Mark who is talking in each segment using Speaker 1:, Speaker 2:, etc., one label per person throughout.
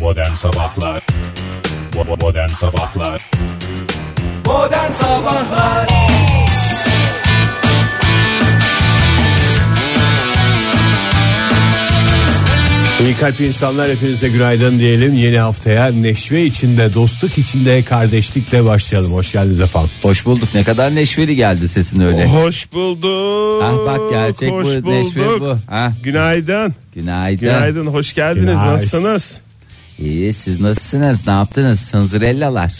Speaker 1: Modern Sabahlar Bo- Modern Sabahlar
Speaker 2: Modern Sabahlar
Speaker 3: İyi kalp insanlar hepinize günaydın diyelim. Yeni haftaya neşve içinde, dostluk içinde, kardeşlikle başlayalım. Hoş geldiniz efendim.
Speaker 2: Hoş bulduk ne kadar neşveli geldi sesin öyle
Speaker 3: Oh,
Speaker 4: Hoş bulduk.
Speaker 2: Ah bak gerçek bu,
Speaker 4: Hoş
Speaker 2: neşve
Speaker 4: bulduk.
Speaker 2: bu. Ha.
Speaker 4: Günaydın.
Speaker 2: Günaydın,
Speaker 4: Günaydın. Hoş geldiniz.
Speaker 3: Günaydın.
Speaker 4: Nasılsınız?
Speaker 2: İyi siz nasılsınız ne yaptınız Hınzırellalar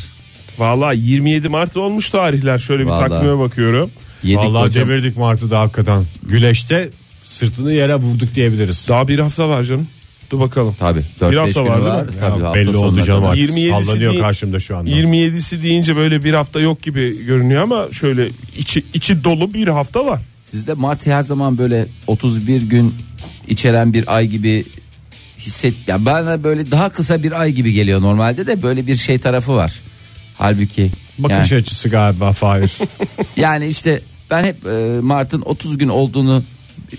Speaker 4: Valla 27 Mart olmuş tarihler. Şöyle bir
Speaker 2: Vallahi.
Speaker 4: takvime bakıyorum.
Speaker 2: Yedik
Speaker 3: Vallahi
Speaker 2: hocam.
Speaker 3: devirdik Martı'da hakikaten. Güleşte sırtını yere vurduk diyebiliriz.
Speaker 4: Daha bir hafta var canım. Dur bakalım.
Speaker 2: Tabii 4-5
Speaker 4: hafta
Speaker 2: günü
Speaker 4: var
Speaker 2: var,
Speaker 4: değil mi?
Speaker 2: Tabii,
Speaker 3: Ya
Speaker 2: hafta
Speaker 3: belli oldu
Speaker 2: sonuna
Speaker 3: canım
Speaker 2: kadar.
Speaker 3: artık.
Speaker 4: 27'si
Speaker 3: Sallanıyor
Speaker 4: değil-
Speaker 3: karşımda şu anda.
Speaker 4: 27'si deyince böyle bir hafta yok gibi görünüyor ama şöyle içi, içi dolu bir hafta var.
Speaker 2: Sizde Mart her zaman böyle 31 gün içeren bir ay gibi hisset. Ya bana böyle daha kısa bir ay gibi geliyor normalde de böyle bir şey tarafı var. Halbuki yani,
Speaker 3: Bakış açısı galiba Fahir.
Speaker 2: yani işte ben hep e, Mart'ın 30 gün olduğunu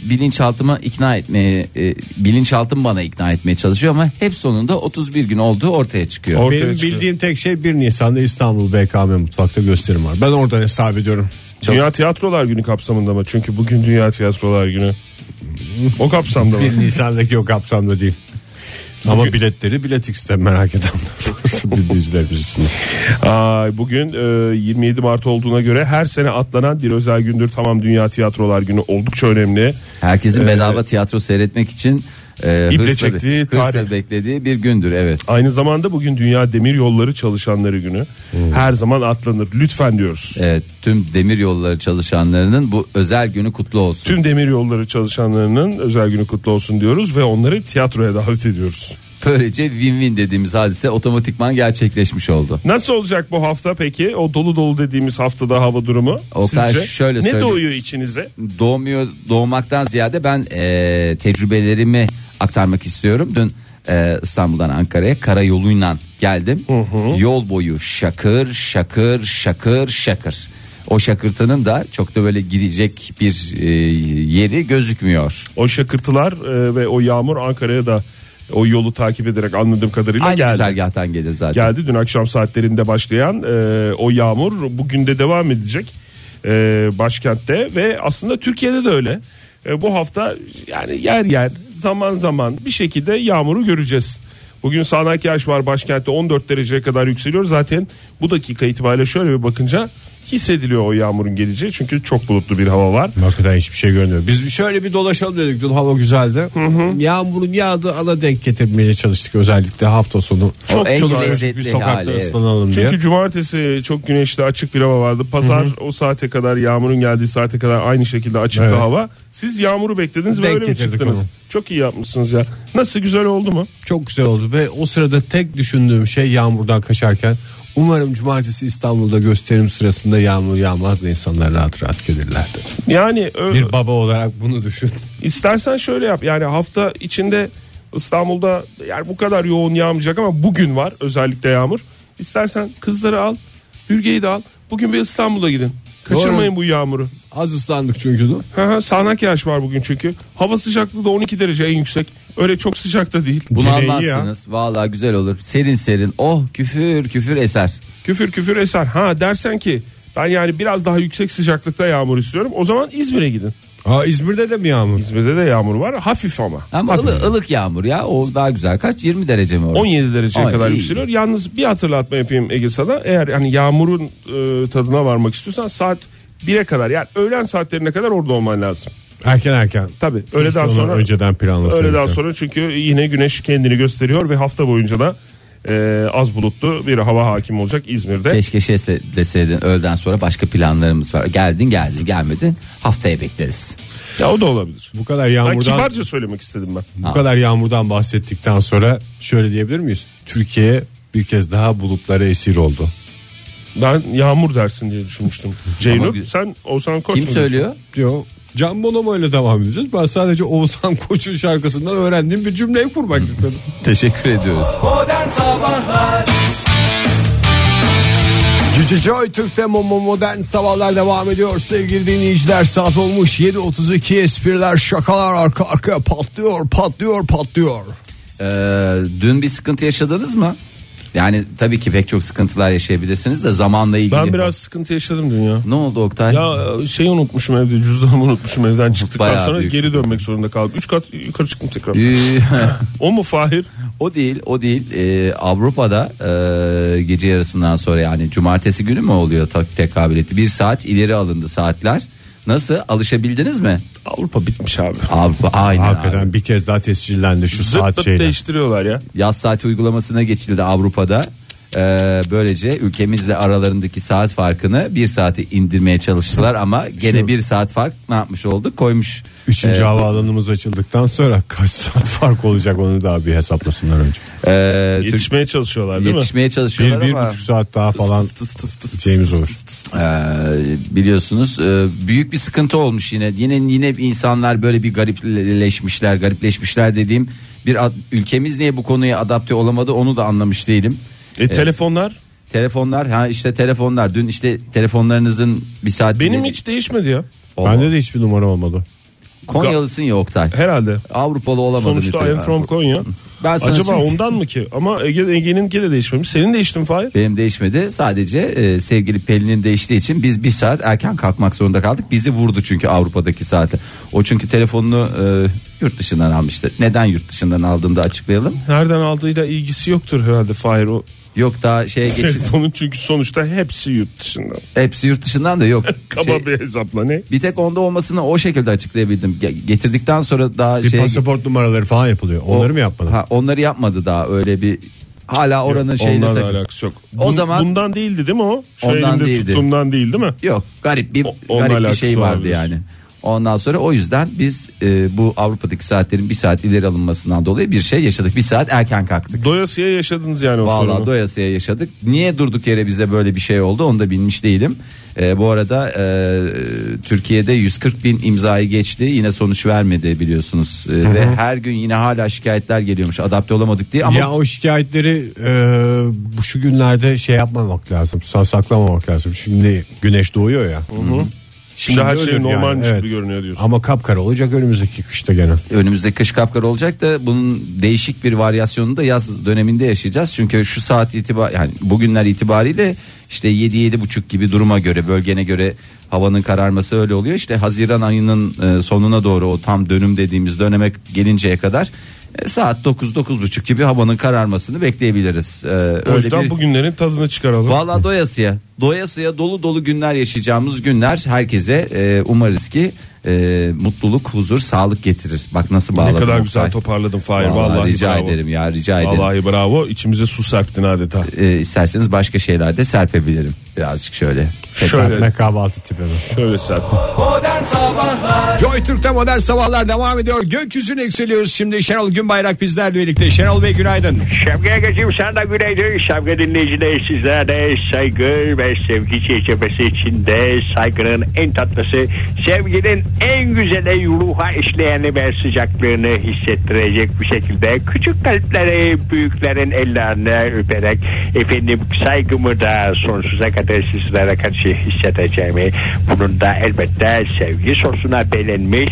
Speaker 2: bilinçaltıma ikna etmeye e, bilinçaltım bana ikna etmeye çalışıyor ama hep sonunda 31 gün olduğu ortaya çıkıyor.
Speaker 4: Or- Ortaya
Speaker 3: Benim
Speaker 4: çıkıyor.
Speaker 3: bildiğim tek şey 1 Nisan'da İstanbul BKM mutfakta gösterim var. Ben oradan hesap ediyorum.
Speaker 4: Dünya Tiyatrolar Günü kapsamında mı? Çünkü bugün Dünya Tiyatrolar Günü. O kapsamda mı?
Speaker 3: 1 Nisan'daki o kapsamda değil. Ama biletleri Bilet X'te merak edenler dinleyicilerimiz için.
Speaker 4: Ay, bugün e, 27 Mart olduğuna göre her sene atlanan bir özel gündür. Tamam Dünya Tiyatrolar Günü oldukça önemli.
Speaker 2: Herkesin bedava tiyatro seyretmek için e,
Speaker 4: İple
Speaker 2: hırsla,
Speaker 4: Ee, çektiği
Speaker 2: hırsla
Speaker 4: tarih.
Speaker 2: beklediği bir gündür evet.
Speaker 4: Aynı zamanda bugün Dünya Demir Yolları Çalışanları Günü. Her zaman atlanır. Lütfen diyoruz.
Speaker 2: Hmm. Evet, E, tüm demir yolları çalışanlarının bu özel günü kutlu olsun.
Speaker 4: Tüm demir yolları çalışanlarının özel günü kutlu olsun diyoruz ve onları tiyatroya davet ediyoruz.
Speaker 2: Böylece win-win dediğimiz hadise otomatikman gerçekleşmiş oldu.
Speaker 4: Nasıl olacak bu hafta peki? O dolu dolu dediğimiz haftada hava durumu.
Speaker 2: Oktay,
Speaker 4: sizce?
Speaker 2: şöyle
Speaker 4: ne
Speaker 2: söyleyeyim.
Speaker 4: doğuyor içinize?
Speaker 2: Doğmuyor doğmaktan ziyade ben eee, tecrübelerimi aktarmak istiyorum. Dün eee, İstanbul'dan Ankara'ya karayoluyla geldim. Yol boyu şakır şakır şakır şakır. O şakırtının da çok da böyle gidecek bir eee, yeri gözükmüyor.
Speaker 4: O şakırtılar e, ve o yağmur Ankara'ya da o yolu takip ederek anladığım kadarıyla
Speaker 2: Aynı
Speaker 4: geldi.
Speaker 2: güzergahtan gelir zaten.
Speaker 4: geldi. Dün akşam saatlerinde başlayan e, o yağmur bugün de devam edecek e, başkentte ve aslında Türkiye'de de öyle. E, bu hafta yani yer yer zaman zaman bir şekilde yağmuru göreceğiz. Bugün sağanak yağış var başkentte 14 dereceye kadar yükseliyor. Zaten bu dakika itibariyle şöyle bir bakınca hissediliyor o yağmurun geleceği. Çünkü çok bulutlu bir hava var.
Speaker 3: Hakikaten hiçbir şey görünmüyor. Biz şöyle bir dolaşalım dedik dün hava güzeldi. Yağmurun yağdığı ana denk getirmeye çalıştık özellikle hafta sonu.
Speaker 2: Çok en
Speaker 3: Çok
Speaker 2: lezzetli
Speaker 3: bir sokakta
Speaker 2: hali, evet.
Speaker 3: ıslanalım diye.
Speaker 4: Çünkü cumartesi çok güneşli açık bir hava vardı. Pazar o saate kadar yağmurun geldiği saate kadar aynı şekilde açıktı
Speaker 3: Evet.
Speaker 4: hava. Siz yağmuru beklediniz ve
Speaker 3: Denk
Speaker 4: öyle mi
Speaker 3: getirdik
Speaker 4: çıktınız?
Speaker 3: onu.
Speaker 4: Çok iyi yapmışsınız ya. Nasıl güzel oldu mu?
Speaker 3: Çok güzel oldu ve o sırada tek düşündüğüm şey yağmurdan kaçarken umarım cumartesi İstanbul'da gösterim sırasında yağmur yağmaz da insanlar rahat rahat gelirlerdi.
Speaker 4: Yani ö-
Speaker 3: Bir baba olarak bunu düşün.
Speaker 4: istersen şöyle yap. Yani hafta içinde İstanbul'da yani bu kadar yoğun yağmayacak ama bugün var özellikle yağmur. İstersen kızları al, bürgeyi de al. Bugün bir İstanbul'a gidin. Kaçırmayın bu yağmuru.
Speaker 3: Az ıslandık çünkü de.
Speaker 4: Hı hı, Sağanak yağış var bugün çünkü. Hava sıcaklığı da 12 derece en yüksek. Öyle çok sıcak da değil.
Speaker 2: Bunu
Speaker 4: Gene iyi ya.
Speaker 2: anlarsınız. Vallahi güzel olur. Serin serin. Oh küfür küfür eser.
Speaker 4: Küfür küfür eser. Ha dersen ki ben yani biraz daha yüksek sıcaklıkta yağmur istiyorum. O zaman İzmir'e gidin.
Speaker 3: Aa, İzmir'de de mi yağmur?
Speaker 4: İzmir'de de yağmur var. Hafif ama.
Speaker 2: Ama ılı- ılık yağmur ya. O daha güzel. Kaç? 20 derece mi orada?
Speaker 4: 17 dereceye
Speaker 2: Ay,
Speaker 4: kadar
Speaker 2: iyi.
Speaker 4: yükseliyor. Yalnız bir hatırlatma yapayım Ege sana. Eğer yani yağmurun e, tadına varmak istiyorsan saat 1'e kadar yani öğlen saatlerine kadar orada olman lazım.
Speaker 3: Erken erken.
Speaker 4: Tabii öğleden
Speaker 3: Sonra
Speaker 4: sonra
Speaker 3: önceden planlasaydık.
Speaker 4: öğleden sonra çünkü yine güneş kendini gösteriyor ve hafta boyunca da e, az bulutlu bir hava hakim olacak İzmir'de.
Speaker 2: Keşke şey se- deseydin öğleden sonra başka planlarımız var. Geldin geldin gelmedin haftaya bekleriz.
Speaker 4: Ya o da olabilir.
Speaker 3: Bu kadar
Speaker 4: Ben
Speaker 3: yağmurdan
Speaker 4: kibarca söylemek istedim ben.
Speaker 3: Bu kadar yağmurdan bahsettikten sonra şöyle diyebilir miyiz? Türkiye bir kez daha bulutlara esir oldu.
Speaker 4: Ben yağmur dersin diye düşünmüştüm.
Speaker 2: Ama
Speaker 4: Ceynep
Speaker 2: bir-
Speaker 4: sen Oğuzhan Koç
Speaker 2: Kim
Speaker 4: mu
Speaker 2: söylüyor?
Speaker 3: Diyor. Can Bonomo ile devam edeceğiz. Ben sadece Oğuzhan Koç'un şarkısından öğrendiğim bir cümleyi kurmak istedim.
Speaker 2: Teşekkür ediyoruz.
Speaker 5: Modern Sabahlar
Speaker 3: Cici Joy Türk'te Momo Modern Sabahlar devam ediyor. Sevgili dinleyiciler saat olmuş 7.32 espriler şakalar arka arkaya patlıyor patlıyor patlıyor.
Speaker 2: Ee, Ee, dün bir sıkıntı yaşadınız mı? Yani tabii ki pek çok sıkıntılar yaşayabilirsiniz de zamanla ilgili.
Speaker 4: Ben biraz sıkıntı yaşadım dün ya.
Speaker 2: Ne oldu Oktay?
Speaker 4: Ya şey unutmuşum evde cüzdanımı unutmuşum evden çıktıktan
Speaker 2: bayağı
Speaker 4: sonra
Speaker 2: büyük
Speaker 4: geri
Speaker 2: sıkıntı.
Speaker 4: dönmek zorunda kaldım. Üç kat yukarı çıktım tekrar.
Speaker 2: Ee,
Speaker 4: O mu Fahir?
Speaker 2: o değil, o değil. Ee, Avrupa'da e, gece yarısından sonra yani cumartesi günü mü oluyor tak tekabül etti? Bir saat ileri alındı saatler. Nasıl alışabildiniz mi?
Speaker 4: Avrupa bitmiş abi.
Speaker 2: Avrupa aynen. abi.
Speaker 3: Hakikaten bir kez daha tescillendi şu
Speaker 4: Zıp
Speaker 3: saat
Speaker 4: zıp
Speaker 3: şeyle.
Speaker 4: değiştiriyorlar ya.
Speaker 2: Yaz saati uygulamasına geçildi Avrupa'da. Ee, böylece ülkemizle aralarındaki saat farkını bir saate indirmeye çalıştılar ama gene bir saat fark ne yapmış olduk koymuş.
Speaker 3: Üçüncü havaalanımız açıldıktan sonra kaç saat fark olacak onu daha bir hesaplasınlar önce.
Speaker 2: Ee, Türk-
Speaker 4: Yetişmeye çalışıyorlar değil mi?
Speaker 2: yetişmeye
Speaker 3: Bir,
Speaker 2: çalışıyorlar
Speaker 3: bir
Speaker 2: ama
Speaker 3: buçuk saat daha falan şeyimiz olur.
Speaker 2: Ee, biliyorsunuz e, büyük bir sıkıntı olmuş yine. Yine yine bir insanlar böyle bir garipleşmişler, garipleşmişler dediğim bir ad- ülkemiz niye bu konuya adapte olamadı onu da anlamış değilim.
Speaker 4: E, telefonlar
Speaker 2: Telefonlar ha işte telefonlar dün işte telefonlarınızın bir saat
Speaker 4: benim hiç değişmedi ya.
Speaker 3: Bende de hiçbir numara olmadı.
Speaker 2: Konyalısın ya Oktay.
Speaker 4: Herhalde.
Speaker 2: Avrupalı olamadın.
Speaker 4: Sonuçta I
Speaker 2: lütfen.
Speaker 4: am from Konya.
Speaker 2: Ben sana
Speaker 4: Acaba
Speaker 2: söyleyeyim.
Speaker 4: ondan mı ki? Ama Ege, Ege'ninki de değişmemiş. Senin değişti mi Fahir?
Speaker 2: Benim değişmedi. Sadece e, sevgili Pelin'in değiştiği için biz bir saat erken kalkmak zorunda kaldık. Bizi vurdu çünkü Avrupa'daki saate. O çünkü telefonunu e, yurt dışından almıştı. Neden yurt dışından aldığını da açıklayalım.
Speaker 4: Nereden aldığıyla ilgisi yoktur herhalde Fahir o.
Speaker 2: Yok daha şeye geçip
Speaker 4: Telefonun çünkü sonuçta hepsi yurt dışında.
Speaker 2: hepsi yurt dışından da yok.
Speaker 4: Kaba
Speaker 2: Şey,
Speaker 4: bir hesapla ne?
Speaker 2: bir tek onda olmasını o şekilde açıklayabildim. Ge- Getirdikten sonra daha
Speaker 3: Bir
Speaker 2: şey
Speaker 3: pasaport numaraları falan yapılıyor. Onları mı yapmadı?
Speaker 2: Ha, onları yapmadı daha öyle bir hala oranın şeyine
Speaker 4: Onlarla
Speaker 2: takıp-
Speaker 4: alakası yok.
Speaker 2: O zaman-
Speaker 4: bundan değildi değil mi o? Şu
Speaker 2: Ondan
Speaker 4: elimde
Speaker 2: değildi.
Speaker 4: tuttuğumdan değil değil mi?
Speaker 2: Yok garip bir
Speaker 4: O- onunla
Speaker 2: garip bir
Speaker 4: alakası
Speaker 2: şey vardı
Speaker 4: olabilir.
Speaker 2: yani. Ondan sonra o yüzden biz e, bu Avrupa'daki saatlerin bir saat ileri alınmasından dolayı bir şey yaşadık. Bir saat erken kalktık.
Speaker 4: Doyasıya yaşadınız yani o
Speaker 2: Vallahi
Speaker 4: sorunu.
Speaker 2: doyasıya yaşadık. Niye durduk yere bize böyle bir şey oldu onu da bilmiş değilim. E, bu arada e, Türkiye'de 140 bin imzayı geçti. Yine sonuç vermedi biliyorsunuz. E, Ve her gün yine hala şikayetler geliyormuş. Adapte olamadık diye ama
Speaker 3: Ya o şikayetleri e, bu şu günlerde şey yapmamak lazım. sa- Saklamamak lazım. Şimdi güneş doğuyor ya.
Speaker 4: Şimdi her şey
Speaker 3: ölür yani,
Speaker 4: normalmiş
Speaker 3: evet.
Speaker 4: gibi görünüyor diyorsun.
Speaker 3: Ama kapkara olacak önümüzdeki kışta gene.
Speaker 2: önümüzde kış kapkar olacak da bunun değişik bir varyasyonunu da yaz döneminde yaşayacağız. Çünkü şu saat itibar yani bugünler itibariyle işte 7 7 buçuk gibi duruma göre bölgene göre havanın kararması öyle oluyor. İşte Haziran ayının e, sonuna doğru o tam dönüm dediğimiz döneme gelinceye kadar e, saat 9 9 buçuk gibi havanın kararmasını bekleyebiliriz. E,
Speaker 4: o
Speaker 2: öyle
Speaker 4: yüzden
Speaker 2: bir
Speaker 4: bugünlerin tadını çıkaralım.
Speaker 2: Valla doyasıya doyasıya dolu dolu günler yaşayacağımız günler herkese e, umarız ki e, mutluluk, huzur, sağlık getirir. Bak nasıl
Speaker 4: ne
Speaker 2: bağladım.
Speaker 4: kadar
Speaker 2: Oktay.
Speaker 4: güzel toparladın Fahir.
Speaker 2: Vallahi
Speaker 4: Vallahi,
Speaker 2: rica
Speaker 4: bravo.
Speaker 2: ederim ya rica ederim.
Speaker 4: Vallahi bravo. İçimize su serptin adeta.
Speaker 2: E, isterseniz başka şeyler de serpebilirim birazcık şöyle.
Speaker 4: Şöyle.
Speaker 3: Serpme kahvaltı tipi mi?
Speaker 4: Şöyle serp.
Speaker 6: Modern Sabahlar
Speaker 3: Joy Türk'te modern sabahlar devam ediyor. Gökyüzüne yükseliyoruz şimdi. Şenol Günbayrak bizlerle birlikte. Şenol Bey günaydın.
Speaker 7: Şevki Egeciğim sana da günaydın. Şevki dinleyiciler sizlere saygı ve sevgi çerçevesi içinde saygının en tatlısı, sevginin en güzeli ruha işleyeni ve sıcaklığını hissettirecek bir şekilde küçük kalpleri büyüklerin ellerine öperek efendim saygımı da sonsuza kadar sizlere karşı hissedeceğimi bunun da elbette sevgi sosuna belenmiş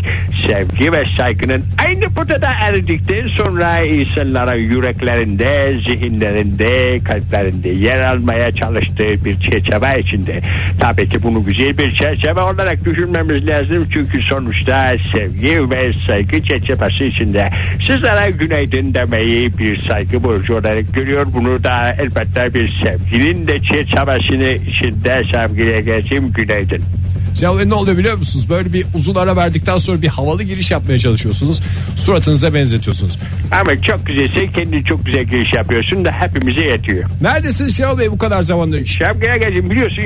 Speaker 7: sevgi ve saygının aynı potada erdikten sonra insanların yüreklerinde, zihinlerinde, kalplerinde yer almaya çalıştığı bir çerçeve içinde. Tabii ki bunu güzel bir çerçeve olarak düşünmemiz lazım. Çünkü sonuçta sevgi ve saygı çerçevesi içinde sizlere günaydın demeyi bir saygı borcu olarak görüyor. Bunu da elbette bir sevginin de çerçevesini içinde sevgiye geçeyim günaydın.
Speaker 3: Şenol Bey ne oluyor biliyor musunuz? Böyle bir uzun ara verdikten sonra bir havalı giriş yapmaya çalışıyorsunuz. Suratınıza benzetiyorsunuz.
Speaker 7: Ama çok güzelsin kendin çok güzel giriş yapıyorsun da hepimize yetiyor.
Speaker 3: Neredesiniz Şenol Bey bu kadar zamandır?
Speaker 7: Şevki'ye gelin biliyorsun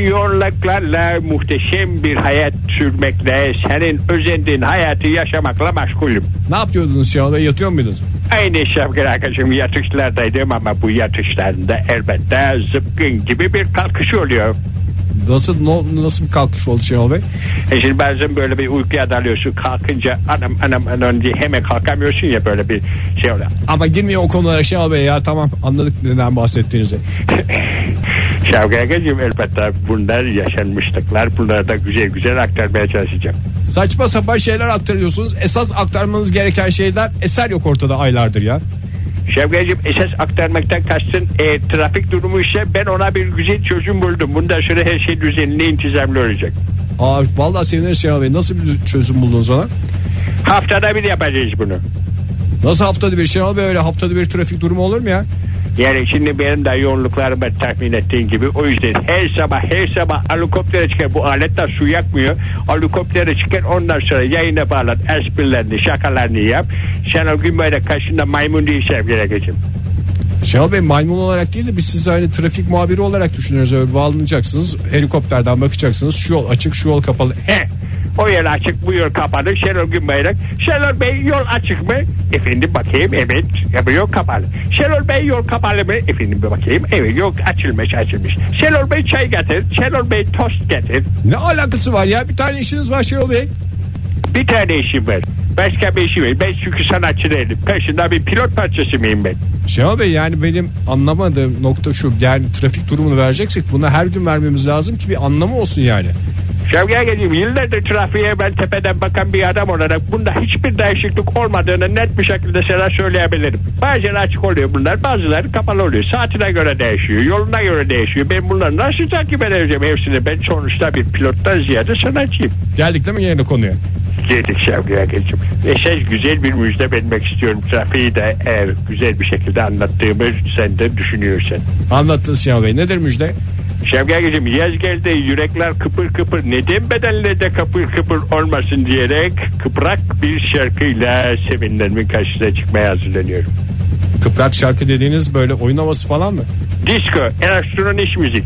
Speaker 7: yoğunluklarla muhteşem bir hayat sürmekle senin özendiğin hayatı yaşamakla meşgulüm.
Speaker 3: Ne yapıyordunuz Şenol Bey? Yatıyor muydunuz?
Speaker 7: Aynı Şevki arkadaşım yatışlardaydım ama bu yatışlarında elbette zıpkın gibi bir kalkış oluyor.
Speaker 3: Nasıl no- nasıl bir kalkış oldu Şenol Bey?
Speaker 7: E şimdi bazen böyle bir uykuya dalıyorsun kalkınca anam anam anam diye hemen kalkamıyorsun ya böyle bir şey oluyor.
Speaker 3: Ama girmiyor o konulara Şenol Bey ya tamam anladık neden bahsettiğinizi.
Speaker 7: Şevki Akacığım elbette bunlar yaşanmışlıklar bunları da güzel güzel aktarmaya çalışacağım.
Speaker 3: Saçma sapan şeyler aktarıyorsunuz. Esas aktarmanız gereken şeyler eser yok ortada aylardır ya.
Speaker 7: Şevkeciğim esas aktarmaktan kastın e, trafik durumu ise ben ona bir güzel çözüm buldum. Bundan sonra her şey düzenli intizamlı olacak.
Speaker 3: Aa, vallahi seviniriz Şenol Bey. Nasıl bir çözüm buldunuz ona?
Speaker 7: Haftada bir yapacağız bunu.
Speaker 3: Nasıl haftada bir Şenol Bey öyle haftada bir trafik durumu olur mu ya?
Speaker 7: Yani şimdi benim de yoğunluklarım var tahmin ettiğin gibi. O yüzden her sabah her sabah helikoptere çıkar. Bu aletler su yakmıyor. Helikoptere çıkar ondan sonra yayına bağlan. Esprilerini şakalarını yap. Sen o gün böyle karşında maymun değil sevgili geçim.
Speaker 3: Şenol Bey maymun olarak değil de biz sizi hani trafik muhabiri olarak düşünüyoruz. Öyle bağlanacaksınız helikopterden bakacaksınız şu yol açık şu yol kapalı.
Speaker 7: He. O yol açık bu yol kapalı Şenol Günbayrak Şenol Bey yol açık mı? Efendim bakayım evet ya bu yol kapalı Şenol Bey yol kapalı mı? Efendim bir bakayım evet yok açılmış açılmış Şenol Bey çay getir Şenol Bey tost getir
Speaker 3: Ne alakası var ya bir tane işiniz var Şenol Bey.
Speaker 7: Bir tane işim var Başka bir işim var ben çünkü sanatçı değilim Peşinden bir pilot parçası mıyım ben?
Speaker 3: Şenol Bey yani benim anlamadığım nokta şu yani trafik durumunu vereceksek buna her gün vermemiz lazım ki bir anlamı olsun yani.
Speaker 7: Şevge geleyim yıllardır trafiğe ben tepeden bakan bir adam olarak bunda hiçbir değişiklik olmadığını net bir şekilde sana söyleyebilirim. Bazen açık oluyor bunlar bazıları kapalı oluyor. Saatine göre değişiyor yoluna göre değişiyor. Ben bunları nasıl takip edeceğim hepsini ben sonuçta bir pilottan ziyade sanatçıyım.
Speaker 3: Geldik değil mi yeni konuya?
Speaker 7: Dedik Şevge Agacığım. Ve siz E, şey, güzel bir müjde vermek istiyorum. Trafiği de eğer güzel bir şekilde anlattığımı sen de düşünüyorsan.
Speaker 3: Anlattınız Şenol Bey nedir müjde?
Speaker 7: Şevge Agacığım yaz geldi yürekler kıpır kıpır neden bedenleri de kıpır kıpır olmasın diyerek kıprak bir şarkıyla sevinlerimin karşısına çıkmaya hazırlanıyorum.
Speaker 3: Kıprak şarkı dediğiniz böyle oyun havası falan mı?
Speaker 7: Disco, elektronik müzik.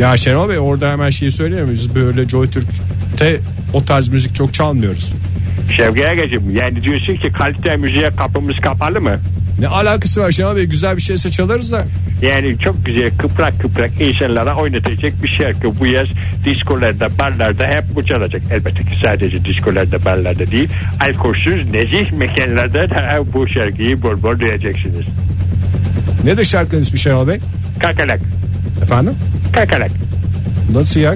Speaker 3: Ya Şenol Bey orada hemen şeyi söyleyeyim mi? Biz böyle Joy Türk'te o tarz müzik çok çalmıyoruz.
Speaker 7: Şevge Agacığım yani diyorsun ki kalite müziğe kapımız kapalı mı?
Speaker 3: Ne alakası var Şenol Bey güzel bir şeyse çalarız da.
Speaker 7: Yani çok güzel kıprak kıprak insanlara oynatacak bir şarkı bu yaz diskolarda barlarda hep bu çalacak. Elbette ki sadece diskolarda barlarda değil alkolsüz nezih mekanlarda da bu şarkıyı bol bol duyacaksınız.
Speaker 3: Nedir şarkının ismi Şenol Bey?
Speaker 7: Kakalak
Speaker 3: Efendim?
Speaker 7: kakalak
Speaker 3: Nasıl ya?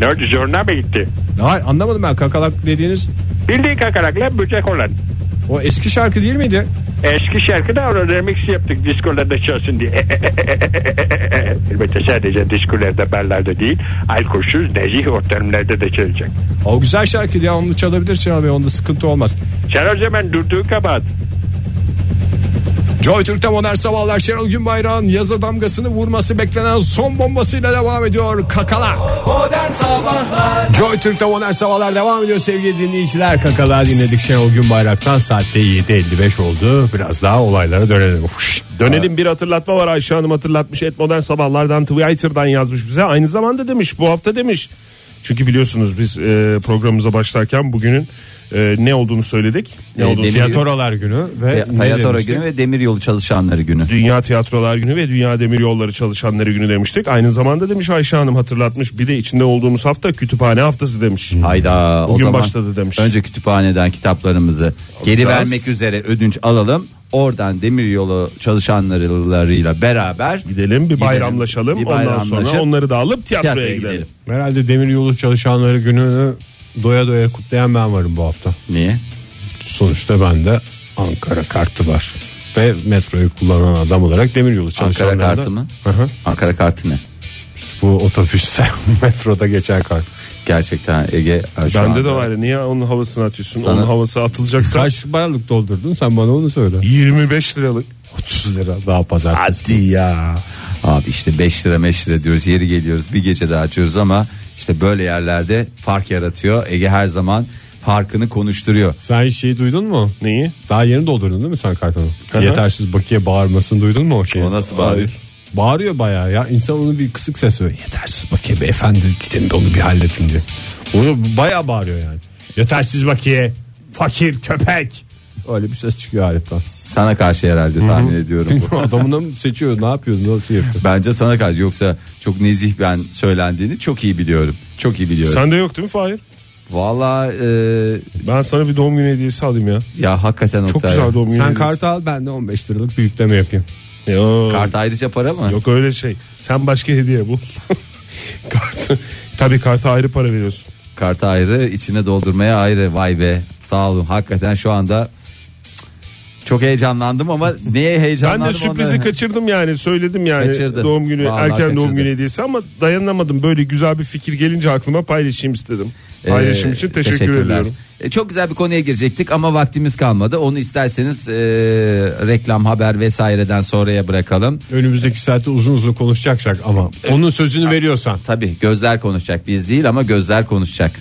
Speaker 7: ne oldu zoruna mı gitti?
Speaker 3: Hayır anlamadım ben kakalak dediğiniz
Speaker 7: Bildiğin kakalakla böcek olan.
Speaker 3: o eski şarkı değil miydi?
Speaker 7: Eski şarkı da ona remix yaptık diskolarda çalsın diye. Elbette sadece diskolarda barlarda değil alkolsüz nezih ortamlarda da çalacak.
Speaker 3: O güzel şarkıydı ya onu çalabilir Şenol Bey onda sıkıntı olmaz.
Speaker 7: Sen o zaman durduğu kabahat.
Speaker 3: Joy Türk'te modern sabahlar Şenol Günbayrak'ın yaza damgasını vurması beklenen son bombasıyla devam ediyor kakalak.
Speaker 5: Modern Sabahlar
Speaker 3: Joy Türk'te modern sabahlar devam ediyor sevgili dinleyiciler. Kakalağı dinledik Şenol Günbayrak'tan saatte 7.55 oldu. Biraz daha olaylara dönelim. Huş.
Speaker 4: Dönelim bir hatırlatma var Ayşe Hanım hatırlatmış et modern sabahlardan Twitter'dan yazmış bize aynı zamanda demiş bu hafta demiş çünkü biliyorsunuz biz e, programımıza başlarken bugünün e, ne olduğunu söyledik ne
Speaker 2: E,
Speaker 4: olduğunu
Speaker 2: demir-
Speaker 4: söyledik.
Speaker 3: Fiyatoralar günü ve
Speaker 2: Ve
Speaker 3: ne
Speaker 2: Tayatora
Speaker 3: demiştik?
Speaker 2: E, günü ve demiryolu çalışanları günü.
Speaker 4: Dünya Tiyatrolar Günü ve Dünya Demiryolları Çalışanları Günü demiştik aynı zamanda demiş Ayşe Hanım hatırlatmış bir de içinde olduğumuz hafta kütüphane haftası demiş
Speaker 2: Hayda o
Speaker 4: Bugün
Speaker 2: zaman
Speaker 4: başladı demiş.
Speaker 2: Önce kütüphaneden kitaplarımızı geri
Speaker 4: Alacağız.
Speaker 2: vermek üzere ödünç alalım. Oradan demiryolu çalışanlarıyla beraber
Speaker 4: gidelim bir bayramlaşalım
Speaker 2: Bir
Speaker 4: ondan
Speaker 2: bayramlaşıp
Speaker 4: sonra onları da alıp tiyatroya,
Speaker 2: tiyatroya
Speaker 4: gidelim.
Speaker 2: gidelim.
Speaker 3: Herhalde demiryolu çalışanları gününü doya doya kutlayan ben varım bu hafta.
Speaker 2: Niye?
Speaker 3: Sonuçta bende Ankara kartı var. Ve metroyu kullanan adam olarak demiryolu çalışanları
Speaker 2: Ankara kartı mı?
Speaker 3: Hı hı.
Speaker 2: Ankara kartı ne?
Speaker 3: Bu otobüste metroda geçen kart.
Speaker 2: Gerçekten Ege ha, şu
Speaker 4: Bende
Speaker 2: anda
Speaker 4: de var ya, niye onun havasını atıyorsun
Speaker 2: Sana-
Speaker 4: onun havası atılacaksa
Speaker 3: Kaç paralık doldurdun sen bana onu söyle.
Speaker 4: 25 liralık
Speaker 3: 30 lira daha pazartesi.
Speaker 4: hadi ya
Speaker 2: Abi işte 5 lira 5 lira diyoruz yeri geliyoruz bir gece daha açıyoruz ama işte böyle yerlerde fark yaratıyor. Ege her zaman farkını konuşturuyor.
Speaker 3: Sen hiç şeyi duydun mu?
Speaker 4: neyi
Speaker 3: Daha yeni doldurdun değil mi sen kartını?
Speaker 4: hı.
Speaker 3: Yetersiz bakiye bağırmasını duydun mu o şeyi?
Speaker 2: O nasıl bağırıyor?
Speaker 3: Bağırıyor bayağı ya. İnsan onu bir kısık ses veriyor. Yetersiz bakiye beyefendi gidin de onu bir halledin diye. Onu bayağı bağırıyor yani. Yetersiz bakiye. Fakir köpek. Öyle bir ses çıkıyor aletten.
Speaker 2: Sana karşı herhalde tahmin ediyorum. bu.
Speaker 3: Adamını mı seçiyor ne yapıyorsun nasıl yapıyor?
Speaker 2: Bence sana karşı yoksa çok nezih ben söylendiğini çok iyi biliyorum. Çok iyi biliyorum.
Speaker 4: sende yok değil mi Fahir
Speaker 2: Vallahi e,
Speaker 4: Ben sana bir doğum günü hediyesi alayım ya.
Speaker 2: ya hakikaten
Speaker 4: Çok
Speaker 2: Oktay.
Speaker 4: güzel doğum günü.
Speaker 3: Sen
Speaker 4: hediyesi.
Speaker 3: kartı al ben de 15 liralık büyükleme yapayım.
Speaker 4: Yok.
Speaker 2: Kart ayrıca para mı?
Speaker 4: Yok öyle şey. Sen başka hediye bul. kartı. Tabii karta ayrı para veriyorsun.
Speaker 2: Kartı ayrı içine doldurmaya ayrı vay be sağ olun hakikaten şu anda Çok heyecanlandım ama neye
Speaker 4: Ben
Speaker 2: heyecanlandım?
Speaker 4: de sürprizi
Speaker 2: onu-
Speaker 4: kaçırdım yani söyledim yani
Speaker 2: Kaçırdın.
Speaker 4: doğum günü
Speaker 2: Vallahi
Speaker 4: erken doğum
Speaker 2: kaçırdın.
Speaker 4: günü hediyesi ama dayanamadım böyle güzel bir fikir gelince aklıma paylaşayım istedim. Paylaşım
Speaker 2: Ee,
Speaker 4: için teşekkür
Speaker 2: teşekkürler.
Speaker 4: ediyorum.
Speaker 2: Ee, Çok güzel bir konuya girecektik ama vaktimiz kalmadı. Onu isterseniz e, reklam haber vesaireden sonraya bırakalım.
Speaker 3: Önümüzdeki saatte uzun uzun konuşacaksak ama onun sözünü veriyorsan.
Speaker 2: Tabii gözler konuşacak biz değil ama gözler konuşacak.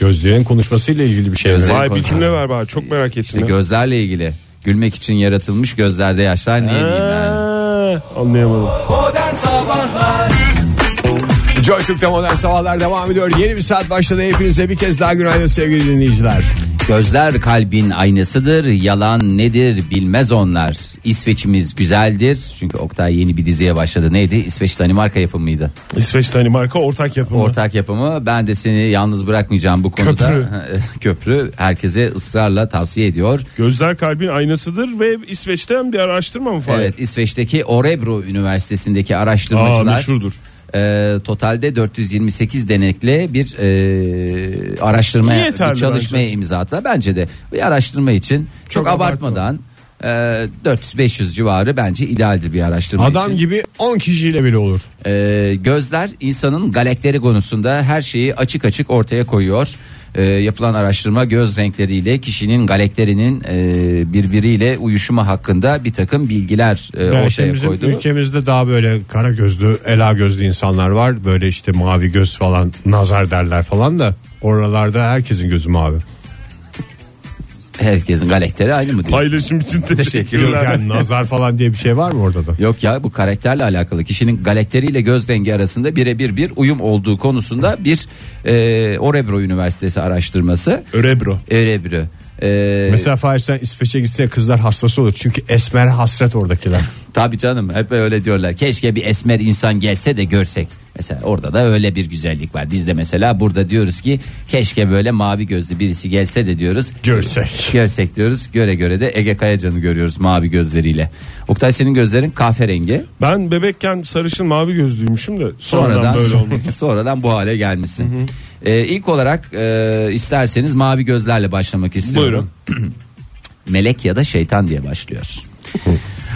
Speaker 3: Gözlerin konuşmasıyla ilgili bir şey.
Speaker 2: Gözlerin
Speaker 4: Vay bir
Speaker 2: konuşacak.
Speaker 4: cümle ver bana çok merak ettim.
Speaker 2: İşte
Speaker 4: ya.
Speaker 2: gözlerle ilgili. Gülmek için yaratılmış gözlerde yaşlar
Speaker 4: Ee?
Speaker 2: niye diyeyim yani.
Speaker 4: Ha, Anlayamadım.
Speaker 5: Modern Sabahlar
Speaker 3: Joy Türk'te modern sabahlar devam ediyor. Yeni bir saat başladı. Hepinize bir kez daha günaydın sevgili dinleyiciler.
Speaker 2: Gözler kalbin aynasıdır. Yalan nedir bilmez onlar. İsveç'imiz güzeldir. Çünkü Oktay yeni bir diziye başladı. Neydi? İsveç Danimarka yapımıydı.
Speaker 4: İsveç Danimarka hani ortak yapımı.
Speaker 2: Ortak yapımı. Ben de seni yalnız bırakmayacağım bu konuda. Köprü. herkese ısrarla tavsiye ediyor.
Speaker 4: Gözler kalbin aynasıdır ve İsveç'ten bir araştırma mı falan?
Speaker 2: Evet İsveç'teki Orebro Üniversitesi'ndeki
Speaker 4: Aa,
Speaker 2: araştırmacılar
Speaker 4: meşhurdur.
Speaker 2: e, totalde 428 denekle bir e, araştırmaya
Speaker 4: Yeterli
Speaker 2: bir çalışmaya imza attılar. Bence de bir araştırma için çok, abartmadan e, 400-500 civarı bence idealdir bir araştırma için.
Speaker 3: Adam gibi 10 kişiyle bile olur.
Speaker 2: Ee, gözler insanın galakleri konusunda her şeyi açık açık ortaya koyuyor. Ee, yapılan araştırma göz renkleriyle kişinin galaklerinin e, birbiriyle uyuşumu hakkında bir takım bilgiler e,
Speaker 3: Yani
Speaker 2: ortaya
Speaker 3: şimdi bizim
Speaker 2: koydu.
Speaker 3: ülkemizde daha böyle kara gözlü, ela gözlü insanlar var. Böyle işte mavi göz falan, nazar derler falan da oralarda herkesin gözü mavi.
Speaker 2: Herkesin galakteri aynı mı diyorsun?
Speaker 4: Paylaşım için
Speaker 3: Yok
Speaker 4: teşekkürler.
Speaker 3: yani nazar falan diye bir şey var mı orada da?
Speaker 2: Yok ya bu karakterle alakalı kişinin galakteriyle göz rengi arasında birebir bir uyum olduğu konusunda bir e, Orebro Üniversitesi araştırması.
Speaker 4: Örebro.
Speaker 2: Örebro. Ee,
Speaker 3: Mesela Fahir sen İsveç'e gitse kızlar hastası olur. Çünkü esmer hasret oradakiler.
Speaker 2: Tabii canım hep öyle diyorlar. Keşke bir esmer insan gelse de görsek. Mesela orada da öyle bir güzellik var. Biz de mesela burada diyoruz ki keşke böyle mavi gözlü birisi gelse de diyoruz.
Speaker 3: Görsek.
Speaker 2: Görsek diyoruz. Göre göre de Ege Kayacan'ı görüyoruz mavi gözleriyle. Oktay senin gözlerin kahverengi.
Speaker 4: Ben bebekken sarışın mavi gözlüymüşüm de sonradan,
Speaker 2: Sonradan
Speaker 4: böyle olmuş.
Speaker 2: sonradan bu hale gelmişsin. Ee, ilk olarak e, isterseniz mavi gözlerle başlamak istiyorum.
Speaker 4: Buyurun.
Speaker 2: melek ya da şeytan diye başlıyor.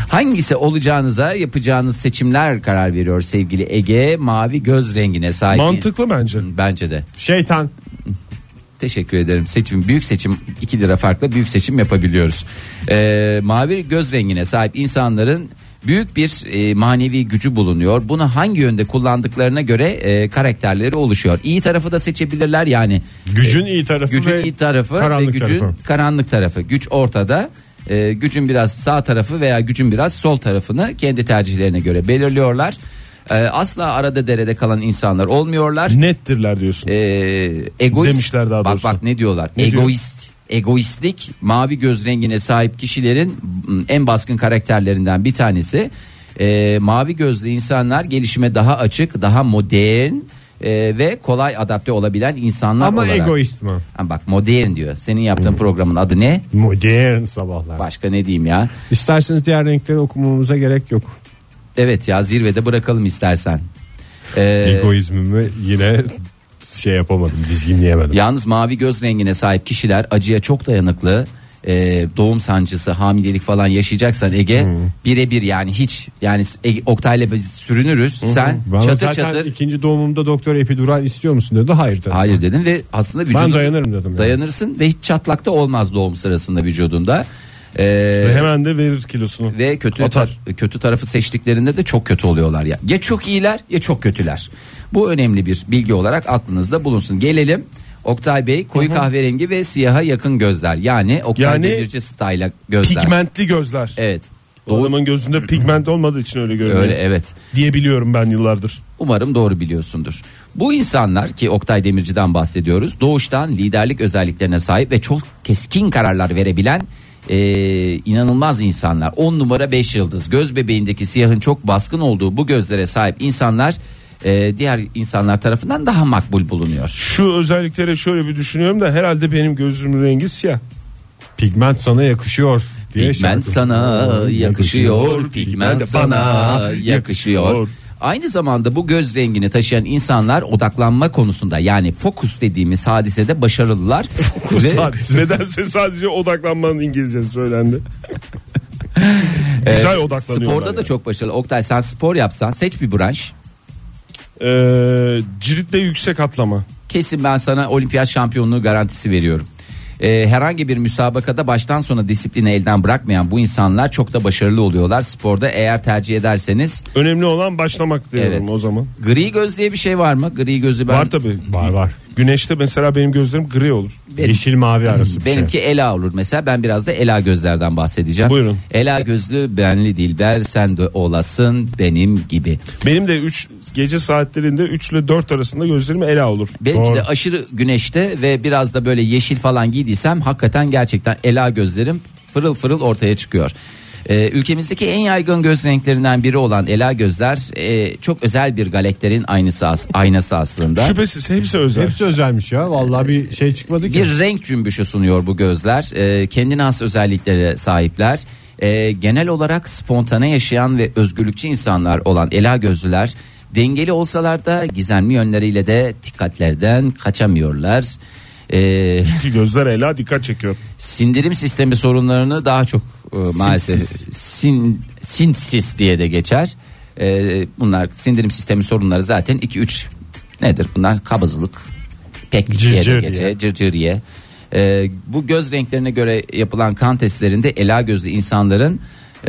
Speaker 2: Hangisi olacağınıza yapacağınız seçimler karar veriyor sevgili Ege. Mavi göz rengine sahip.
Speaker 4: Mantıklı bence.
Speaker 2: Bence de.
Speaker 3: Şeytan.
Speaker 2: Teşekkür ederim. Seçim büyük seçim 2 lira farkla büyük seçim yapabiliyoruz. Ee, mavi göz rengine sahip insanların büyük bir e, manevi gücü bulunuyor. Bunu hangi yönde kullandıklarına göre e, karakterleri oluşuyor. İyi tarafı da seçebilirler yani.
Speaker 3: Gücün iyi tarafı
Speaker 2: Gücün
Speaker 3: ve
Speaker 2: iyi tarafı
Speaker 3: karanlık
Speaker 2: ve gücün
Speaker 3: tarafı.
Speaker 2: karanlık tarafı. Güç ortada. Ee, gücün biraz sağ tarafı veya gücün biraz sol tarafını kendi tercihlerine göre belirliyorlar. Ee, asla arada derede kalan insanlar olmuyorlar.
Speaker 4: Nettirler diyorsun.
Speaker 2: Ee, egoist
Speaker 4: Demişler daha doğrusu.
Speaker 2: Bak bak ne diyorlar?
Speaker 4: Ne diyor?
Speaker 2: egoist. Egoistlik mavi göz rengine sahip kişilerin m, en baskın karakterlerinden bir tanesi. Ee, mavi gözlü insanlar gelişime daha açık, daha modern e, ve kolay adapte olabilen insanlar
Speaker 3: Ama
Speaker 2: olarak.
Speaker 3: egoist mi?
Speaker 2: Ha bak modern diyor. Senin yaptığın
Speaker 4: Hmm.
Speaker 2: programın adı ne?
Speaker 3: Modern sabahlar.
Speaker 2: Başka ne diyeyim ya?
Speaker 3: İsterseniz diğer renkleri okumamıza gerek yok.
Speaker 2: Evet ya zirvede bırakalım istersen. Ee,
Speaker 3: Egoizmimi yine şey yapamadım, dizginleyemedim.
Speaker 2: yalnız mavi göz rengine sahip kişiler acıya çok dayanıklı. e, doğum sancısı, hamilelik falan yaşayacaksan Ege
Speaker 3: Hmm.
Speaker 2: birebir yani hiç yani Ege, Oktay'la biz sürünürüz. Sen
Speaker 3: Bana
Speaker 2: çatır
Speaker 3: zaten
Speaker 2: çatır
Speaker 3: ikinci doğumumda doktor epidural istiyor musun dedi. Hayır dedi.
Speaker 2: hayır dedin ve aslında vücudun
Speaker 3: Ben dayanırım dedim. yani.
Speaker 2: dayanırsın ve hiç çatlakta olmaz doğum sırasında vücudunda. Ee,
Speaker 4: Ve Hemen de verir kilosunu.
Speaker 2: ve kötü
Speaker 4: Atar.
Speaker 2: tar- kötü tarafı seçtiklerinde de çok kötü oluyorlar ya. Ya çok iyiler ya çok kötüler. Bu önemli bir bilgi olarak aklınızda bulunsun. Gelelim Oktay Bey koyu kahverengi ve siyaha yakın gözler. Yani Oktay
Speaker 4: Yani
Speaker 2: Demirci style'a gözler.
Speaker 4: Pigmentli gözler.
Speaker 2: Evet.
Speaker 4: O adamın gözünde pigment olmadığı için öyle görünüyor.
Speaker 2: E, Öyle evet.
Speaker 4: Diye biliyorum ben yıllardır.
Speaker 2: Umarım doğru biliyorsundur. Bu insanlar ki Oktay Demirci'den bahsediyoruz. Doğuştan liderlik özelliklerine sahip ve çok keskin kararlar verebilen e, inanılmaz insanlar. 10 numara 5 yıldız. Göz bebeğindeki siyahın çok baskın olduğu bu gözlere sahip insanlar e, diğer insanlar tarafından daha makbul bulunuyor.
Speaker 4: Şu özelliklere şöyle bir düşünüyorum da herhalde benim gözümün rengi siyah.
Speaker 3: Pigment sana yakışıyor diye şey
Speaker 2: Pigment
Speaker 3: şarkı-
Speaker 2: sana yakışıyor, pigment sana yakışıyor.
Speaker 4: yakışıyor.
Speaker 2: Aynı zamanda bu göz rengini taşıyan insanlar odaklanma konusunda yani fokus dediğimiz hadisede başarılılar. Ve-
Speaker 4: Sadece- Nedense sadece odaklanmanın İngilizcesi söylendi. Güzel odaklanıyorlar.
Speaker 2: e, Sporda da
Speaker 4: yani.
Speaker 2: çok başarılı. Oktay sen spor yapsan seç bir branş.
Speaker 4: Ee, ciritle yüksek atlama.
Speaker 2: Kesin ben sana olimpiyat şampiyonluğu garantisi veriyorum. Ee, herhangi bir müsabakada baştan sona disiplini elden bırakmayan bu insanlar çok da başarılı oluyorlar. Sporda eğer tercih ederseniz
Speaker 4: Önemli olan başlamak diyorum
Speaker 2: Evet.
Speaker 4: o zaman.
Speaker 2: gri göz diye bir şey var mı? Gri gözü ben
Speaker 4: Var tabii.
Speaker 3: Var var.
Speaker 4: Güneşte mesela benim gözlerim gri olur.
Speaker 2: Benim-
Speaker 3: Yeşil mavi arası bir şey.
Speaker 2: Benimki Ela olur mesela ben biraz da Ela gözlerden bahsedeceğim.
Speaker 4: Buyurun.
Speaker 2: Ela gözlü benli Dilber sen de olasın benim gibi.
Speaker 4: Benim de 3 gece saatlerinde 3 ile 4 arasında gözlerim ela olur.
Speaker 2: Benimki de aşırı güneşte ve biraz da böyle yeşil falan giydiysem hakikaten gerçekten ela gözlerim fırıl fırıl ortaya çıkıyor. Ee, ülkemizdeki en yaygın göz renklerinden biri olan ela gözler e, çok özel bir galakterin aynısı as- aynası aslında.
Speaker 4: Şüphesiz hepsi özel.
Speaker 3: Hepsi özelmiş ya. Vallahi bir şey çıkmadı ki.
Speaker 2: Bir renk cümbüşü sunuyor bu gözler. Ee, kendine has özelliklere sahipler. Ee, genel olarak spontane yaşayan ve özgürlükçü insanlar olan ela gözlüler dengeli olsalar da gizemli yönleriyle de dikkatlerden kaçamıyorlar. Ee,
Speaker 4: Çünkü gözler ela dikkat çekiyor.
Speaker 2: sindirim sistemi sorunlarını daha çok e, maalesef sin, sinsis diye de geçer. Ee, bunlar sindirim sistemi sorunları zaten 2-3 nedir bunlar kabızlık peklik diye de
Speaker 3: Cırcırye.
Speaker 2: geçer cırcırye. Ee, bu göz renklerine göre yapılan kan testlerinde ela gözlü insanların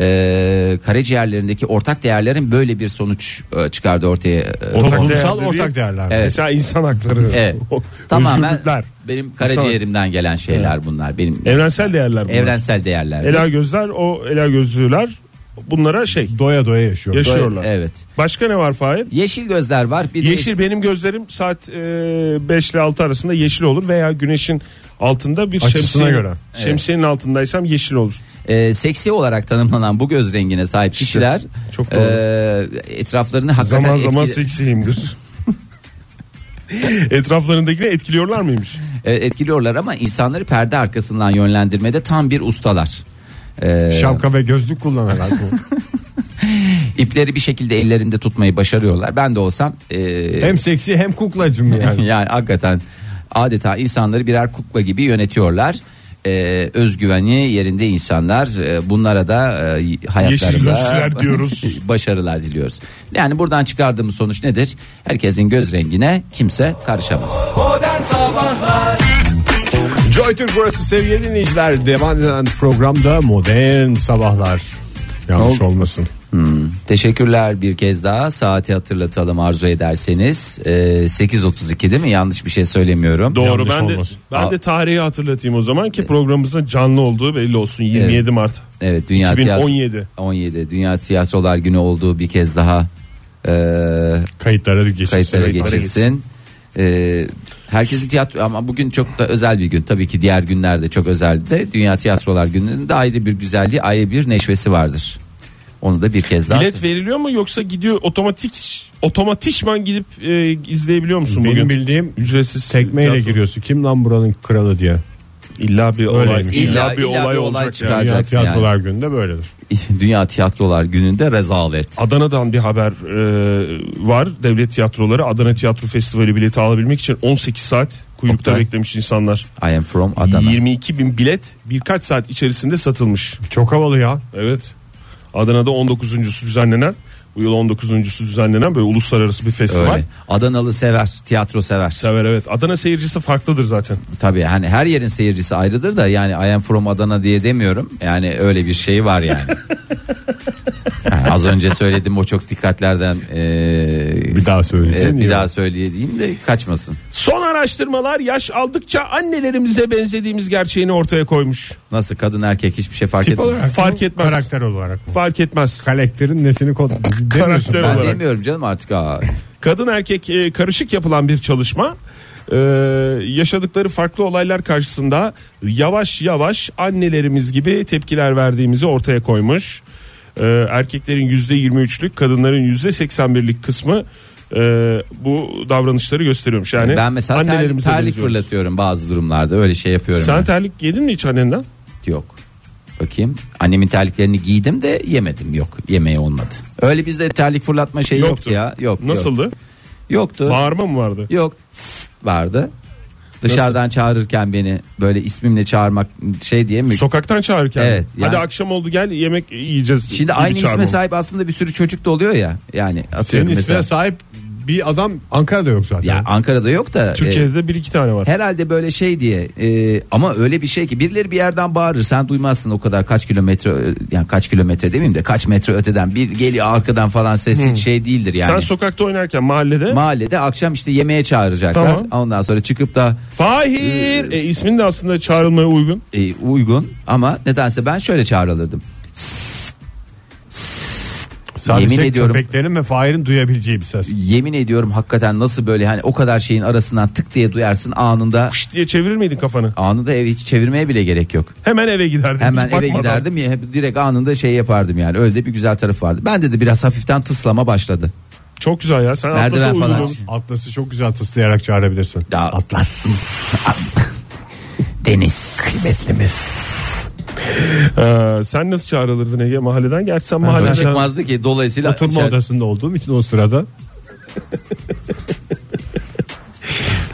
Speaker 2: e, karaciğerlerindeki ortak değerlerin böyle bir sonuç e, çıkardı ortaya. E,
Speaker 4: Ortak değer
Speaker 3: Toplumsal
Speaker 4: dediğin-
Speaker 3: ortak değerler.
Speaker 2: Evet.
Speaker 4: Mesela insan hakları.
Speaker 2: Evet. e, Tamamen
Speaker 4: Tamamen.
Speaker 2: benim karaciğerimden gelen şeyler bunlar. Benim
Speaker 4: Evrensel değerler bunlar.
Speaker 2: evrensel değerler.
Speaker 4: Ela gözler o ela gözlüler bunlara şey
Speaker 3: Doya doya yaşıyor.
Speaker 4: Yaş-
Speaker 2: Böyle-
Speaker 4: yaşıyorlar.
Speaker 2: Evet.
Speaker 4: Başka ne var Fahir?
Speaker 2: Yeşil gözler var. Bir de
Speaker 4: Yeşil benim gözlerim saat 5 ile 6 arasında yeşil olur veya güneşin altında bir
Speaker 3: Açısına
Speaker 4: şemsiye,
Speaker 3: göre.
Speaker 4: şemsiyenin altındaysam yeşil olur.
Speaker 2: e, seksi olarak tanımlanan bu göz rengine sahip kişiler
Speaker 4: çok doğru.
Speaker 2: e, etraflarını hakikaten
Speaker 4: Zaman zaman
Speaker 2: etkile-
Speaker 4: seksiyimdir. Etraflarındakini etkiliyorlar mıymış?
Speaker 2: e, etkiliyorlar ama insanları perde arkasından yönlendirmede tam bir ustalar. E,
Speaker 3: Ee. Şapka ve gözlük kullanarak bu.
Speaker 2: ipleri bir şekilde ellerinde tutmayı başarıyorlar. Ben de olsam e,
Speaker 3: hem seksi hem kuklacım yani.
Speaker 2: yani hakikaten adeta insanları birer kukla gibi yönetiyorlar. E, özgüveni yerinde insanlar E, bunlara da e,
Speaker 4: Yeşil
Speaker 2: hayatlarında
Speaker 4: gözlüler diyoruz.
Speaker 2: başarılar diliyoruz. Yani buradan çıkardığımız sonuç nedir? Herkesin göz rengine kimse karışamaz.
Speaker 5: Modern Sabahlar
Speaker 3: Joy Türk burası sevgili dinleyiciler. Devam eden programda modern sabahlar. Yanlış olmasın.
Speaker 2: Teşekkürler bir kez daha. Saati hatırlatalım arzu ederseniz. Ee, 8.32 değil mi? Yanlış bir şey söylemiyorum.
Speaker 4: Doğru
Speaker 3: Yanlış
Speaker 4: ben de,
Speaker 3: olmasın.
Speaker 4: ben de tarihi hatırlatayım o zaman ki programımızın canlı olduğu belli olsun 27 Mart.
Speaker 2: Evet Dünya
Speaker 4: 2017.
Speaker 2: Tiyatro- 17 Dünya Tiyatrolar Günü olduğu bir kez daha e,
Speaker 3: Kayıtlara bir geçin.
Speaker 2: kayıtlara
Speaker 3: Evet.
Speaker 2: geçilsin. E, herkesin tiyatro ama bugün çok da özel bir gün. Tabii ki diğer günlerde çok özel de Dünya Tiyatrolar Günü'nün de ayrı bir güzelliği, ayrı bir neşvesi vardır. Onu da bir kez daha
Speaker 4: Bilet veriliyor mu yoksa gidiyor otomatik otomatikman gidip e, izleyebiliyor musun
Speaker 3: Benim
Speaker 4: bugün?
Speaker 3: bildiğim
Speaker 4: Ücretsiz
Speaker 3: tekmeyle
Speaker 4: tiyatro.
Speaker 3: giriyorsun. Kim lan buranın kralı diye.
Speaker 4: İlla bir olay.
Speaker 3: Öyleymiş.
Speaker 2: İlla- illa bir olay
Speaker 4: olacak yani.
Speaker 2: çıkar.
Speaker 3: Dünya
Speaker 2: Alacaksın
Speaker 3: tiyatrolar gününde böyledir.
Speaker 2: Dünya Tiyatrolar Günü'nde rezalet.
Speaker 4: Adana'dan bir haber e, var. Devlet tiyatroları Adana Tiyatro Festivali bileti alabilmek için 18 saat kuyrukta
Speaker 2: Oktay.
Speaker 4: beklemiş insanlar.
Speaker 2: I am from Adana.
Speaker 4: 22 bin bilet birkaç saat içerisinde satılmış.
Speaker 3: Çok havalı ya.
Speaker 4: Evet. Adana'da 19.sü düzenlenen bu yıl 19.sü düzenlenen böyle uluslararası bir festival.
Speaker 2: Öyle. Adanalı sever, tiyatro sever.
Speaker 4: Sever evet. Adana seyircisi farklıdır zaten.
Speaker 2: Tabii hani her yerin seyircisi ayrıdır da yani I am from Adana diye demiyorum. Yani öyle bir şey var yani. Yani az önce söyledim o çok dikkatlerden eee,
Speaker 3: Bir daha söyleyeyim.
Speaker 2: evet, bir daha söyleyeyim de kaçmasın.
Speaker 4: Son araştırmalar yaş aldıkça annelerimize benzediğimiz gerçeğini ortaya koymuş.
Speaker 2: Nasıl kadın erkek hiçbir şey fark
Speaker 3: Tip
Speaker 2: etmez.
Speaker 3: olarak
Speaker 4: Fark
Speaker 3: mı?
Speaker 4: etmez.
Speaker 3: Karakter olarak mı?
Speaker 4: Fark etmez.
Speaker 3: Karakterin nesini kod demiyorsun.
Speaker 4: Karakter
Speaker 2: Ben
Speaker 4: olarak.
Speaker 2: demiyorum canım artık. Aa,
Speaker 4: Kadın erkek e, karışık yapılan bir çalışma e, yaşadıkları farklı olaylar karşısında yavaş yavaş annelerimiz gibi tepkiler verdiğimizi ortaya koymuş. E, erkeklerin yüzde %23'lük kadınların yüzde %81'lik kısmı e, bu davranışları gösteriyormuş.
Speaker 3: Hani
Speaker 4: Yani
Speaker 2: ben mesela terlik,
Speaker 4: annelerimize
Speaker 2: terlik
Speaker 4: benziyoruz.
Speaker 2: fırlatıyorum bazı durumlarda öyle şey yapıyorum.
Speaker 4: Sen
Speaker 2: ben.
Speaker 4: terlik yedin mi hiç annenden?
Speaker 2: Yok. Bakayım. Annemin terliklerini giydim de yemedim. Yok. Yemeği olmadı. Öyle bizde terlik fırlatma şeyi yoktu,
Speaker 4: Yoktu.
Speaker 2: ya. Yok. yok.
Speaker 4: Nasıldı?
Speaker 2: Yoktu.
Speaker 4: Bağırma mı vardı?
Speaker 2: yok. Sss vardı. Dışarıdan çağırırken beni böyle ismimle çağırmak şey diye mi?
Speaker 4: Sokaktan çağırırken.
Speaker 2: Evet, yani-
Speaker 4: Hadi akşam oldu gel yemek yiyeceğiz.
Speaker 2: Şimdi
Speaker 4: gibi
Speaker 2: aynı isme
Speaker 4: çağırmam.
Speaker 2: sahip aslında bir sürü çocuk da oluyor ya. Yani
Speaker 3: Senin
Speaker 2: atıyorum mesela.
Speaker 3: ismine sahip bir adam Ankara'da yok zaten.
Speaker 2: Ya Ankara'da yok da. e,
Speaker 4: Türkiye'de de bir iki tane var.
Speaker 2: Herhalde böyle şey diye e, ama öyle bir şey ki birileri bir yerden bağırır sen duymazsın o kadar kaç kilometre ö- yani kaç kilometre demeyeyim de kaç metre öteden bir geliyor arkadan falan ses hiç şey değildir yani.
Speaker 4: Hmm. Sen sokakta oynarken mahallede
Speaker 2: Mahallede akşam işte yemeğe çağıracaklar
Speaker 4: Tamam.
Speaker 2: ondan sonra çıkıp da
Speaker 4: Fahir
Speaker 2: Ee.
Speaker 4: e, ismin de aslında çağrılmaya uygun.
Speaker 2: e, uygun ama nedense ben şöyle çağrılırdım.
Speaker 3: Sadece şey,
Speaker 2: Yemin ediyorum.
Speaker 3: köpeklerin ve fahirin duyabileceği bir ses.
Speaker 2: Yemin ediyorum hakikaten nasıl böyle hani o kadar şeyin arasından tık diye duyarsın anında
Speaker 4: Şşt diye çevirir miydin kafanı?
Speaker 2: anında evi hiç çevirmeye bile gerek yok.
Speaker 4: Hemen eve giderdin.
Speaker 2: Hemen
Speaker 4: hiç
Speaker 2: eve
Speaker 4: bakmadan.
Speaker 2: giderdim ya hep direkt anında şey yapardım yani. Öyle de bir güzel tarafı vardı. Ben de biraz hafiften tıslama başladı.
Speaker 4: Çok güzel ya. Sen
Speaker 2: Merdiven
Speaker 4: atlasa
Speaker 2: falan.
Speaker 4: uygun.
Speaker 3: Atlas'ı çok güzel tıslayarak çağırabilirsin.
Speaker 2: Ya.
Speaker 3: Atlas.
Speaker 2: Deniz.
Speaker 4: Ee, sen nasıl çağrılırdın Ege mahalleden? Gerçi sen mahalleden
Speaker 3: zaten-
Speaker 2: Çıkmazdı ki dolayısıyla
Speaker 3: Oturma
Speaker 2: içer-
Speaker 3: odasında olduğum için o sırada.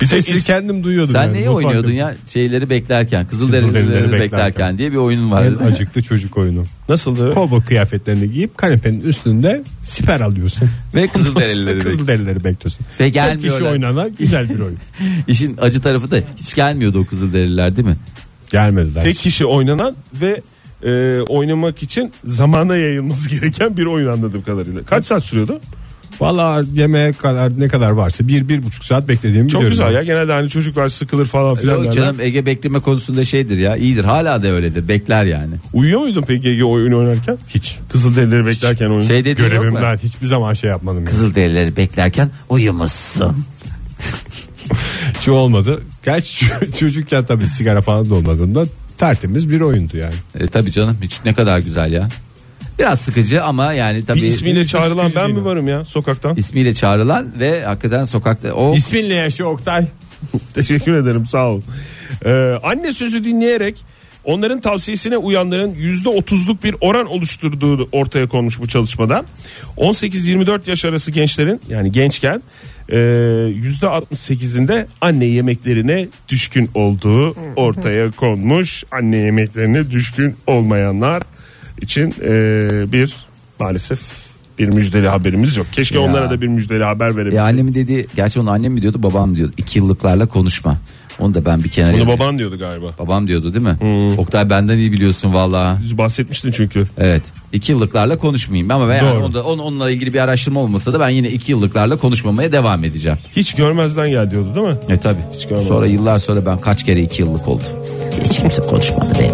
Speaker 3: bir sesi kendim duyuyordum.
Speaker 2: Sen
Speaker 3: yani,
Speaker 2: neyi
Speaker 3: mutfakta.
Speaker 2: oynuyordun ya? Şeyleri beklerken, Kızılderilileri
Speaker 3: Kızılderilileri
Speaker 2: beklerken.
Speaker 3: beklerken
Speaker 2: diye bir oyun vardı.
Speaker 3: En acıklı çocuk oyunu.
Speaker 4: nasıldı?
Speaker 3: Kobo kıyafetlerini giyip kanepenin üstünde siper alıyorsun.
Speaker 2: Ve Kızılderilileri bekliyorsun.
Speaker 3: Kızılderilileri bekliyorsun.
Speaker 2: Ve
Speaker 3: Tek kişi
Speaker 2: gelmiyorlar.
Speaker 3: oynanan güzel bir oyun.
Speaker 2: İşin acı tarafı da hiç gelmiyordu o Kızılderililer değil mi?
Speaker 3: Gelmediler.
Speaker 4: Tek kişi oynanan ve e, oynamak için zamana yayılması gereken bir oyun anladığım kadarıyla. Kaç saat sürüyordu?
Speaker 3: Valla yemeğe kadar ne kadar varsa bir bir buçuk saat beklediğimi
Speaker 4: Çok
Speaker 3: biliyorum.
Speaker 4: güzel
Speaker 3: ben.
Speaker 4: ya. Genelde hani çocuklar sıkılır falan filan.
Speaker 2: Yok
Speaker 4: derler.
Speaker 2: canım Ege bekleme konusunda şeydir ya. iyidir Hala da öyledir. Bekler yani.
Speaker 4: Uyuyor muydun peki Ege oyun oynarken?
Speaker 3: Hiç.
Speaker 4: Kızılderilileri beklerken oyun.
Speaker 2: Şey dedi yok mu?
Speaker 3: Görevimden hiçbir zaman şey yapmadım. Yani.
Speaker 2: Kızılderilileri beklerken uyumuşsun.
Speaker 3: Hiç olmadı. Gerçi ç- çocukken tabii sigara falan da olmadığında tertemiz bir oyundu yani.
Speaker 2: E, tabii canım hiç ne kadar güzel ya. Biraz sıkıcı ama yani tabii
Speaker 4: bir ismiyle çağrılan ben
Speaker 3: Üzücüydü.
Speaker 4: mi varım ya sokaktan?
Speaker 2: ismiyle çağrılan ve hakikaten sokakta o
Speaker 3: İsminle yaşa Oktay.
Speaker 4: Teşekkür ederim sağ olun. Ee, anne sözü dinleyerek onların tavsiyesine uyanların %30'luk bir oran oluşturduğu ortaya konmuş bu çalışmada. 18-24 yaş arası gençlerin yani gençken e, %68'inde anne yemeklerine düşkün olduğu ortaya konmuş. Anne yemeklerine düşkün olmayanlar için e, bir maalesef bir müjdeli haberimiz yok. Keşke
Speaker 2: Ya.
Speaker 4: onlara da bir müjdeli haber verebilsek.
Speaker 2: ya annemin dediği gerçi onu annem mi diyordu babam mı diyordu iki yıllıklarla konuşma onu da ben bir kenara
Speaker 4: Bunu
Speaker 2: yazayım.
Speaker 4: baban diyordu galiba.
Speaker 2: babam diyordu değil mi Oktay benden iyi biliyorsun valla
Speaker 4: bahsetmiştin çünkü.
Speaker 2: evet iki yıllıklarla konuşmayayım ama ben yani
Speaker 4: Doğru.
Speaker 2: onda- on- onunla ilgili bir araştırma olmasa da ben yine iki yıllıklarla konuşmamaya devam edeceğim
Speaker 4: Hiç görmezden gel diyordu değil mi?
Speaker 2: e tabi
Speaker 4: Hiç görmedim.
Speaker 2: sonra yıllar sonra ben kaç kere iki yıllık oldum hiç kimse konuşmadı benim